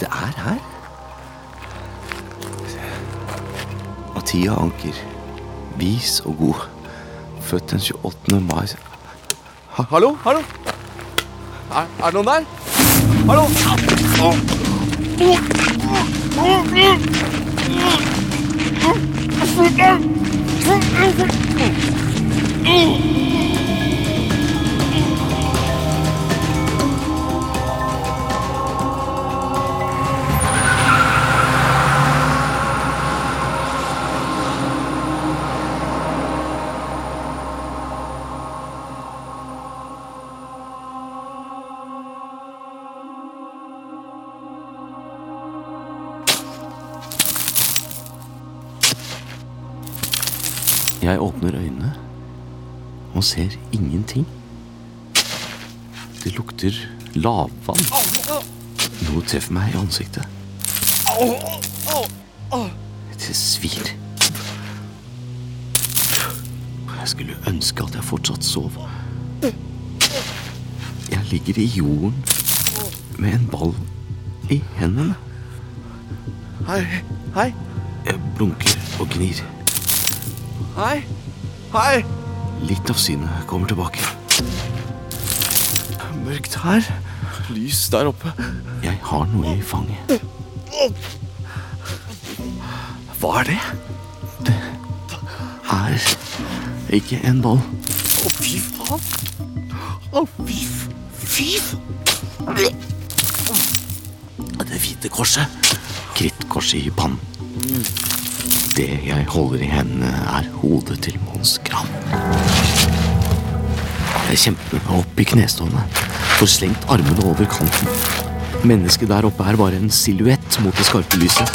E: Det er her.
I: Mathia Anker. Vis og god. Født den 28. mai Ha- Hallo, hallo? Er, er det noen der? Hallo? Å.
E: Jeg åpner øynene og ser ingenting. Det lukter lavvann. Noe treffer meg i ansiktet. Det svir. Jeg skulle ønske at jeg fortsatt sov. Jeg ligger i jorden med en ball i hendene.
I: Hei. Hei.
E: Jeg blunker og gnir.
I: Hei. Hei.
E: Litt av synet kommer tilbake.
I: Mørkt her. Lys der oppe.
E: Jeg har noe i fanget.
I: Hva er det?
E: er ikke en ball.
I: Å, fy faen. Å, fy f- Fy faen.
E: Det hvite korset. Krittkorset i pannen. Det jeg holder i hendene, er hodet til Mons Gran. Jeg kjemper meg opp i knestående, får slengt armene over kanten. Mennesket der oppe er bare en silhuett mot det skarpe lyset.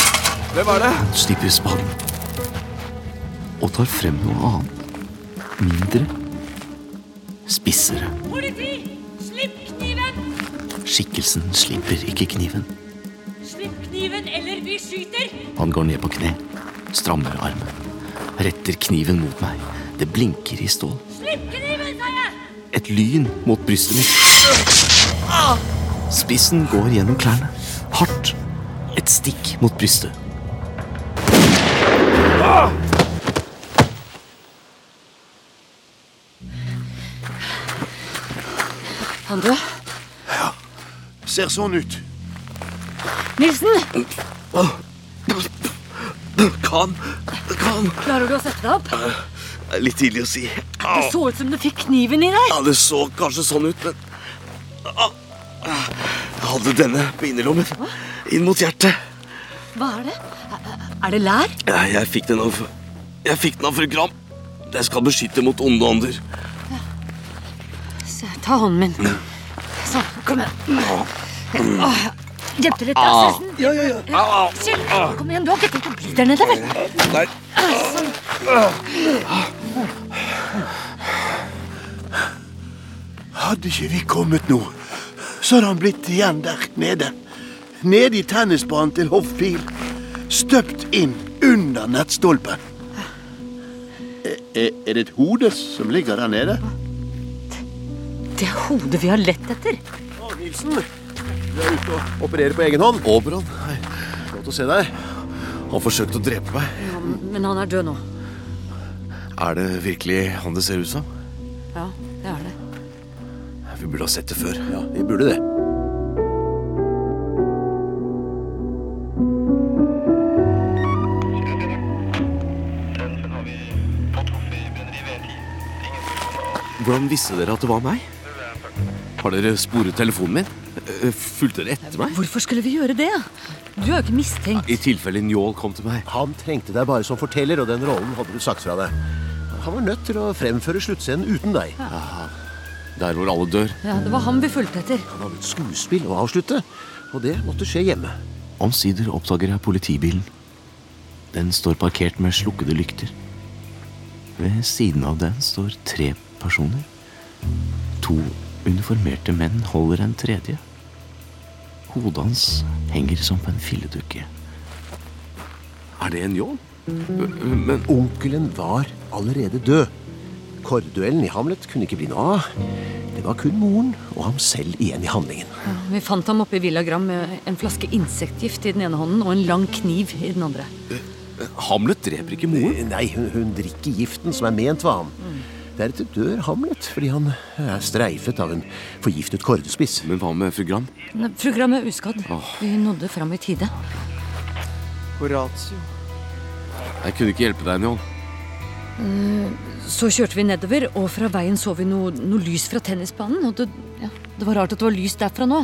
I: Hvem er det?
E: Han slipper spaden og tar frem noe annet. Mindre. Spissere.
R: Politi! Slipp kniven!
E: Skikkelsen slipper ikke kniven.
R: Slipp kniven, eller vi skyter!
E: Han går ned på kne, strammer armen, retter kniven mot meg. Det blinker i stål.
R: Slipp kniven, sa jeg!
E: Et lyn mot brystet mitt.
I: Ah!
E: Spissen går gjennom klærne. Hardt. Et stikk mot brystet.
F: Han død?
K: Ser sånn ut.
F: Nilsen!
I: Kan. Kan.
F: Klarer du å sette deg opp?
I: Litt tidlig å si.
F: Det så ut som du fikk kniven i deg.
I: Ja, det så kanskje sånn ut, men Au! Jeg hadde denne på innerlommen. Inn mot hjertet.
F: Hva er det? Er det lær?
I: Jeg, jeg fikk den av Jeg fikk den av fru Gram. Jeg skal beskytte mot onde ånder.
F: Se, Ta hånden
I: Mm.
F: min. Sånn, kom igjen. Åh, Hjelp til litt, da,
I: Ah.
F: Søsten.
I: Ja, ja, ja. Au, au.
F: Kjell, kom igjen, du har ikke tenkt å bli der nede, vel?
I: Nei.
F: Sånn.
I: Ah.
K: Hadde ikke vi kommet nå, så hadde han blitt igjen der nede. Nede i tennisbanen til Hoffpil. Støpt inn under nettstolpen. Er, er- er det et hode som ligger der nede?
F: Det er hodet vi har lett etter.
K: Nilsen,
D: Du er ute og opererer på egen hånd. Oberon. Godt å se deg.
E: Han forsøkte å drepe meg.
F: Ja, men- men han er død nå.
E: Er det virkelig han det ser ut som?
F: Ja, det er det.
E: Vi burde ha sett det før.
D: Ja, vi burde det.
E: Hvordan visste dere at det var meg? Har dere sporet telefonen min? Eh, Fulgte dere etter meg?
F: Hvorfor skulle vi gjøre det? Du er jo ikke mistenkt.
E: I tilfelle Njål kom til meg.
D: Han trengte deg bare som forteller, og den rollen hadde du sagt fra deg. Han var nødt til å fremføre sluttscenen uten deg.
E: Der hvor alle dør.
F: Ja, Det var ham vi fulgte etter.
D: Han hadde et skuespill å avslutte, og det måtte skje hjemme.
E: Omsider oppdager jeg politibilen. Den står parkert med slukkede lykter. Ved siden av den står tre personer. To uniformerte menn holder en tredje. Hodet hans henger som på en filledukke. Er det en jobb? Men
D: onkelen var allerede død. Kårduellen i Hamlet kunne ikke bli noe av. Det var kun moren og ham selv igjen i handlingen.
F: Ja, vi fant ham oppe i Villa Gram med en flaske insektgift i den ene hånden og en lang kniv i den andre.
E: Hamlet dreper ikke moren?
D: Nei, hun, hun drikker giften som er ment for ham. Deretter dør Hamlet fordi han er streifet av en forgiftet kårdespiss.
E: Men hva med fru Gram?
F: Nei, Fru Gram er uskadd.
E: Åh.
F: Vi nådde fram i tide.
N: Horatio.
E: Jeg kunne ikke hjelpe deg, Njål.
F: Eh, Så kjørte vi nedover, og fra veien så vi noe, noe lys fra tennisbanen. Og det, ja, det var rart at det var lys derfra nå.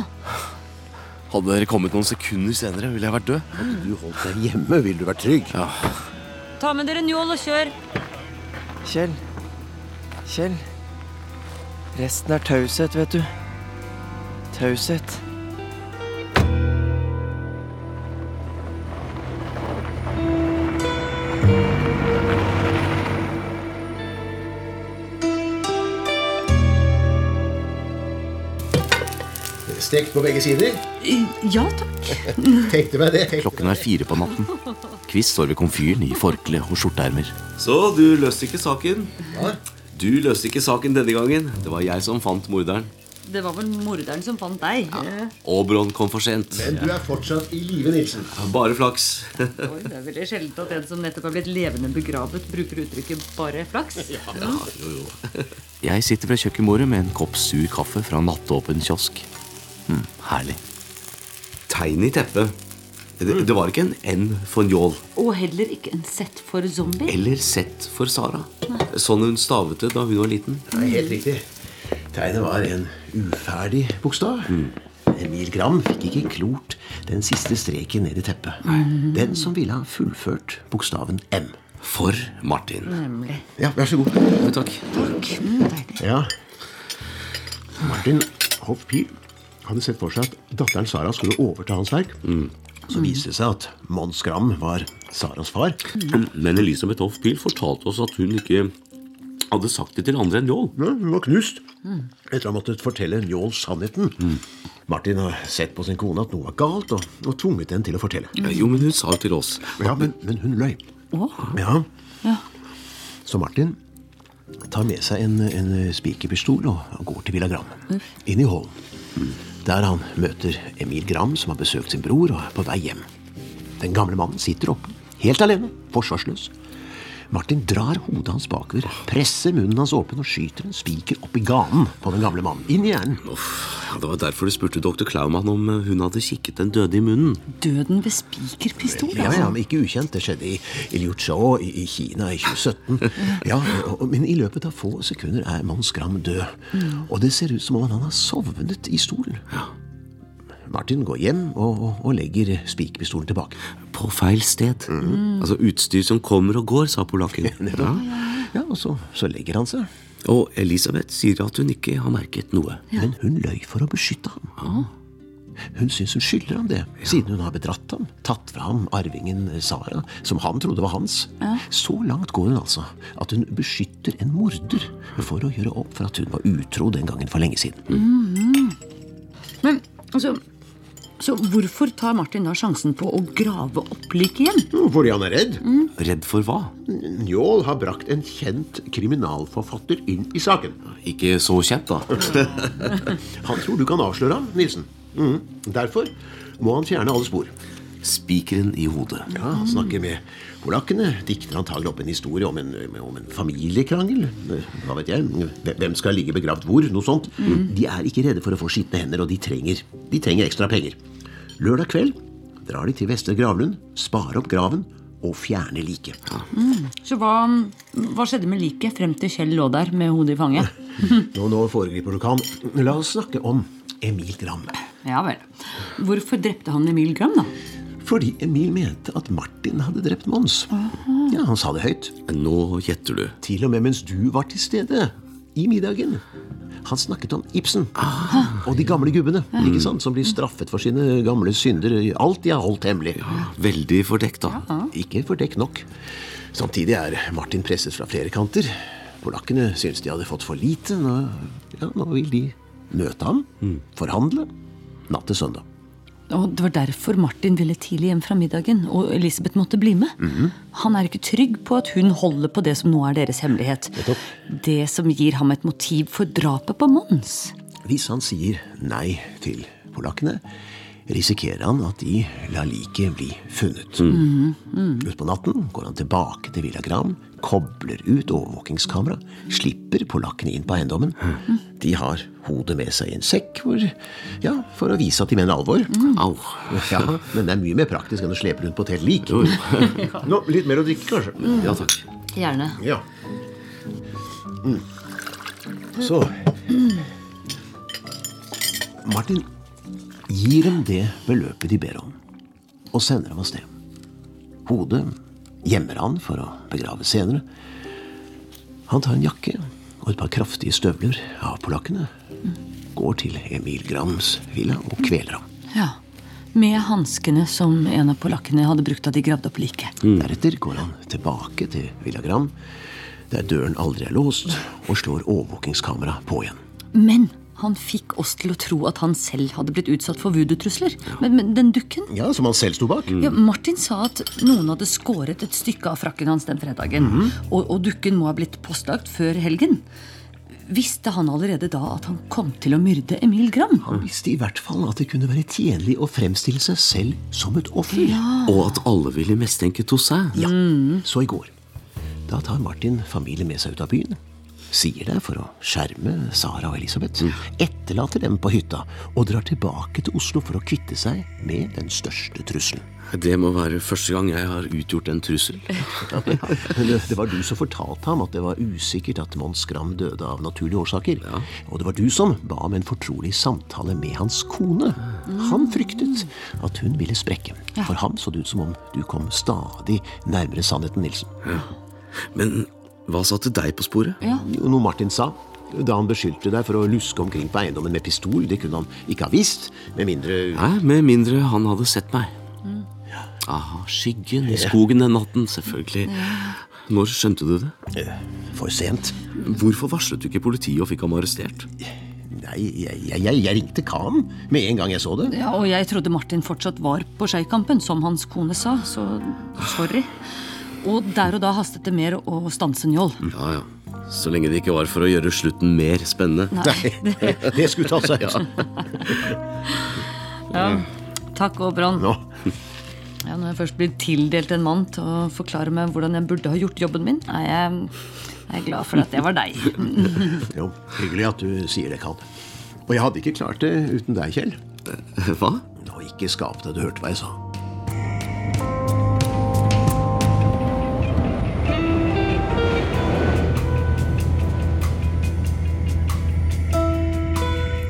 E: Hadde dere kommet noen sekunder senere, ville jeg vært død.
D: Hadde du holdt deg hjemme, ville du vært trygg.
E: Ja.
F: Ta med dere njål og kjør.
N: Kjell. Kjell. Resten er taushet, vet du. Taushet.
D: Stekt på begge sider.
F: Ja takk.
D: Tenkte meg det.
E: Klokken er fire på natten. Kvist står ved komfyren i forkle og skjorteermer.
S: Så du løste ikke saken? Du løste ikke saken denne gangen. Det var jeg som fant morderen.
F: Det var vel morderen som fant deg.
S: Oberon kom for sent.
D: er fortsatt i live, Nilsen.
S: Bare flaks.
F: Oi, det er veldig sjeldent at en som nettopp er blitt levende begravet, bruker uttrykket 'bare flaks'.
E: Jeg sitter ved kjøkkenbordet med en kopp sur kaffe fra nattåpen kiosk. Mm, herlig.
S: Hm, Tegn i teppet. Det,
D: Mm.
S: det var ikke en N for Njål.
F: Og heller ikke en sett for Mm. zombie.
S: Eller Z for Sara. Sånn hun stavet det da hun var liten.
D: Nei, helt riktig. Tegnet var en uferdig bokstav. Mm. Emil Gram fikk ikke klort den siste streken ned i teppet. Den som ville ha fullført bokstaven M.
S: For Martin.
F: Nemlig.
D: Ja, vær så god. Mm,
S: Takk.
D: Ja. Martin Hoff Pil hadde sett for seg at datteren Sara skulle overta hans verk.
S: Mm.
D: Så viste det seg at Mons Gram var Saras far.
S: Men Elisabeth Hoff Pil fortalte oss at hun ikke hadde sagt det til andre enn Njål.
D: Ja, hun var knust etter å ha måttet fortelle Njål sannheten. Martin har sett på sin kone at noe var galt, og, og tvunget henne til å fortelle.
S: Jo, men hun sa jo til oss.
D: Ja, men, men hun løy. Ja.
F: Ja.
D: Så Martin tar med seg en, en spikerpistol og, og går til Villa Gram. Inn i hallen. Der han møter Emil Gram, som har besøkt sin bror og er på vei hjem. Den gamle mannen sitter oppe, helt alene, forsvarsløs. Martin drar hodet hans bakover, presser munnen hans åpen og skyter en spiker opp i ganen på den gamle mannen. Inn i hjernen.
S: Ja, det var derfor du spurte doktor Klaumann om eh, hun hadde kikket den døde i munnen.
F: Døden ved spikerpistol? altså.
D: Ja, ja, men ikke ukjent. Det skjedde i, i Liuzhou i, i Kina i 2017. Ja, og, og- men i løpet av få sekunder er Mons Gram død. Og det ser ut som om han har sovnet i stolen. Martin går hjem og, og, og legger spikerpistolen tilbake.
S: På feil sted. Altså utstyr som kommer og går, sa polakken. ja.
D: Ja, og så, så legger han seg.
S: Og Elisabeth sier at hun ikke har merket noe.
D: Men hun løy for å beskytte ham. Hun syns hun skylder ham det, siden hun har bedratt ham, tatt fra ham arvingen Sara, som han trodde var hans. Så langt går hun altså at hun beskytter en morder for å gjøre opp for at hun var utro den gangen for lenge siden.
F: Mm. Men altså Så hvorfor tar Martin da sjansen på å grave opp liket igjen?
D: Fordi han er redd.
S: Redd for hva?
D: Njål har brakt en kjent kriminalforfatter inn i saken.
S: Ikke så kjent, da.
D: Han tror du kan avsløre ham, Nilsen. Mm. Derfor må han fjerne alle spor.
E: Spikeren i hodet.
D: Ja, han snakker med polakkene. Dikter antagelig opp en historie om en, om en familiekrangel. Hva vet jeg? Hvem skal ligge begravd hvor? Noe sånt.
E: Mm.
D: De er ikke redde for å få skitne hender, og de trenger, de trenger ekstra penger. Lørdag kveld drar de til Vestre Gravlund, sparer opp graven og fjerner liket.
F: Mm. Så hva, hva skjedde med liket frem til Kjell lå der med hodet i fanget?
D: Nå, nå foregriper du kan. La oss snakke om Emil Gram.
F: Ja vel. Hvorfor drepte han Emil Gram, da?
D: Fordi Emil mente at Martin hadde drept Mons. Ja, Han sa det høyt.
E: Nå gjetter du.
D: Til og med mens du var til stede. I middagen. Han snakket om Ibsen
E: Ah.
D: og de gamle gubbene ikke sant, som blir straffet for sine gamle synder. Alt de har holdt hemmelig.
E: Veldig fordekt, da.
D: Ikke fordekt nok. Samtidig er Martin presset fra flere kanter. Polakkene syns de hadde fått for lite. Nå, ja, nå vil de møte ham,
E: Mm.
D: forhandle, natt til søndag.
F: Og Det var derfor Martin ville tidlig hjem fra middagen, og Elisabeth måtte bli med.
E: Mhm.
F: Han er ikke trygg på at hun holder på det som nå er deres hemmelighet. Det som gir ham et motiv for drapet på Mons.
D: Hvis han sier nei til polakkene, risikerer han at de lar liket bli funnet.
F: Mhm,
A: Mm.
F: mhm.
D: Utpå natten går han tilbake til Villa Gram, kobler ut overvåkingskamera, slipper polakkene inn på eiendommen. De har hodet med seg i en sekk hvor, ja, for å vise at de mener alvor. Au. Ja, men det er mye mer praktisk enn å slepe rundt på et helt lik. Nå, litt mer å drikke, kanskje. Ja, takk.
F: Gjerne.
D: Ja. Mm. Så Martin gir dem det beløpet de ber om, og sender dem av sted. Hodet gjemmer han for å begrave senere. Han tar en jakke og et par kraftige støvler av polakkene, går til Emil Grams villa og kveler ham.
F: Ja. Med hanskene som en av polakkene hadde brukt da de gravde opp liket.
D: Deretter går han tilbake til Villa Gram, der døren aldri er låst, og slår overvåkingskamera på igjen.
F: Men han fikk oss til å tro at han selv hadde blitt utsatt for voodoo-trusler. Men, men den dukken
D: Ja, Som han selv sto bak.
F: Ja, Martin sa at noen hadde skåret et stykke av frakken hans den fredagen. og, og dukken må ha blitt postlagt før helgen. Visste han allerede da at han kom til å myrde Emil Gram?
D: Han visste i hvert fall at det kunne være tjenlig å fremstille seg selv som et offer.
F: Ja.
E: Og at alle ville mistenke Toussaint.
D: Ja. Så i går. Da tar Martin familien med seg ut av byen. Sier det for å skjerme Sara og Elisabeth.
E: Mm.
D: Etterlater dem på hytta og drar tilbake til Oslo for å kvitte seg med den største trusselen.
E: Det må være første gang jeg har utgjort en trussel.
D: Men det det var du som fortalte ham at det var usikkert at Mons Gram døde av naturlige årsaker. Og det var du som ba om en fortrolig samtale med hans kone. Han fryktet at hun ville sprekke.
E: Ja.
D: For ham så det ut som om du kom stadig nærmere sannheten, Nilsen.
E: Ja. Men hva satte deg på sporet?
F: Ja.
D: Jo, Noe Martin sa da han beskyldte deg for å luske omkring på eiendommen med pistol. Det kunne han ikke ha visst, med mindre
E: Nei, med mindre han hadde sett meg. Aha, skyggen i skogen den natten, selvfølgelig. Når skjønte du det?
D: For sent.
E: Hvorfor varslet du ikke politiet og fikk ham arrestert?
D: Nei, jeg, ringte Kam med en gang jeg så det.
F: Ja, og jeg trodde Martin fortsatt var på Skeikampen, som hans kone sa, så sorry. Og der og da hastet det mer å stanse Njål.
E: Ja, ja. Så lenge det ikke var for å gjøre slutten mer spennende.
F: Nei. Nei, det skulle ta seg. Ja. Takk, Aabron.
D: Ja.
F: når jeg først blir tildelt en mann til å forklare meg hvordan jeg burde ha gjort jobben min, er jeg, er jeg glad for at det var deg.
D: Jo, hyggelig at du sier det, Kan. Og jeg hadde ikke klart det uten deg, Kjell.
E: Eh, Hva?
D: Nå ikke skap deg, du hørte hva jeg sa.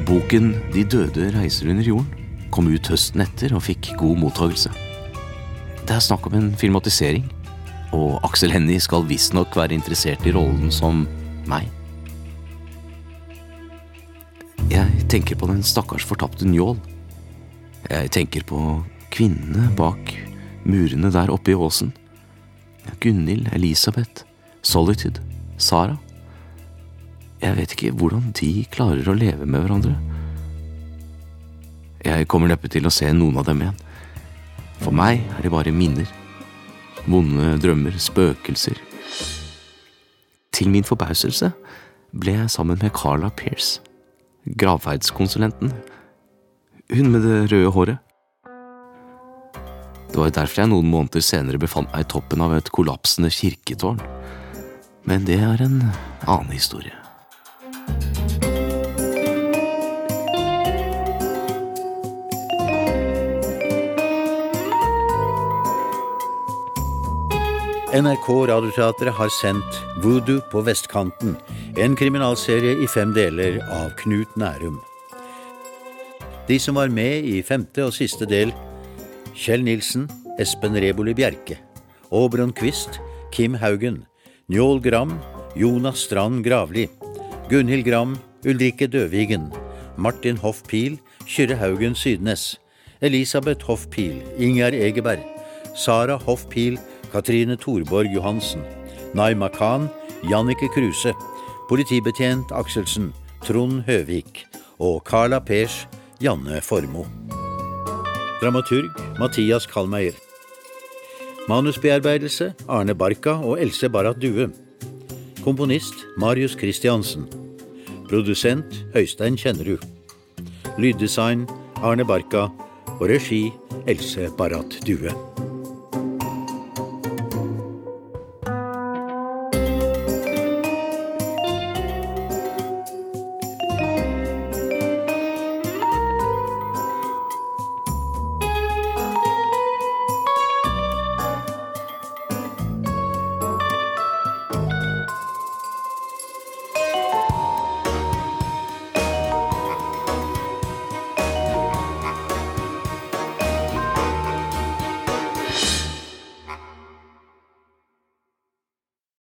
E: Boken De døde reiser under jorden kom ut høsten etter og fikk god mottagelse. Det er snakk om en filmatisering, og Aksel Hennie skal visstnok være interessert i rollen som meg. Jeg tenker på den stakkars fortapte Njål. Jeg tenker på kvinnene bak murene der oppe i åsen. Gunhild, Elisabeth, Solitude, Sara. Jeg vet ikke hvordan de klarer å leve med hverandre. Jeg kommer neppe til å se noen av dem igjen. For meg er de bare minner. Vonde drømmer, spøkelser. Til min forbauselse ble jeg sammen med Carla Pierce, gravferdskonsulenten. Hun med det røde håret. Det var derfor jeg noen måneder senere befant meg i toppen av et kollapsende kirketårn. Men det er en annen historie.
A: NRK Radioteatret har sendt Voodoo på vestkanten, en kriminalserie i fem deler av Knut Nærum. De som var med i femte og siste del, Kjell Nilsen, Espen Reboli Bjerke, Åbron Quist, Kim Haugen, Njål Gram, Jonas Strand Gravli, Gunhild Gram, Ulrikke Døvigen, Martin Hoff Pil, Kyrre Haugen Sydnes, Elisabeth Hoff Pil, Ingjerd Egeberg, Sara Hoff Pil, Katrine Thorborg Johansen, Naima Khan, Jannike Kruse, politibetjent Akselsen, Trond Høvik og Carla Pers, Janne Formoe. Dramaturg Mathias Kallmeier. Manusbearbeidelse Arne Barka og Else Barrat Due. Komponist Marius Christiansen. Produsent Øystein Kjennerud. Lyddesign Arne Barka og regi Else Barrat Due.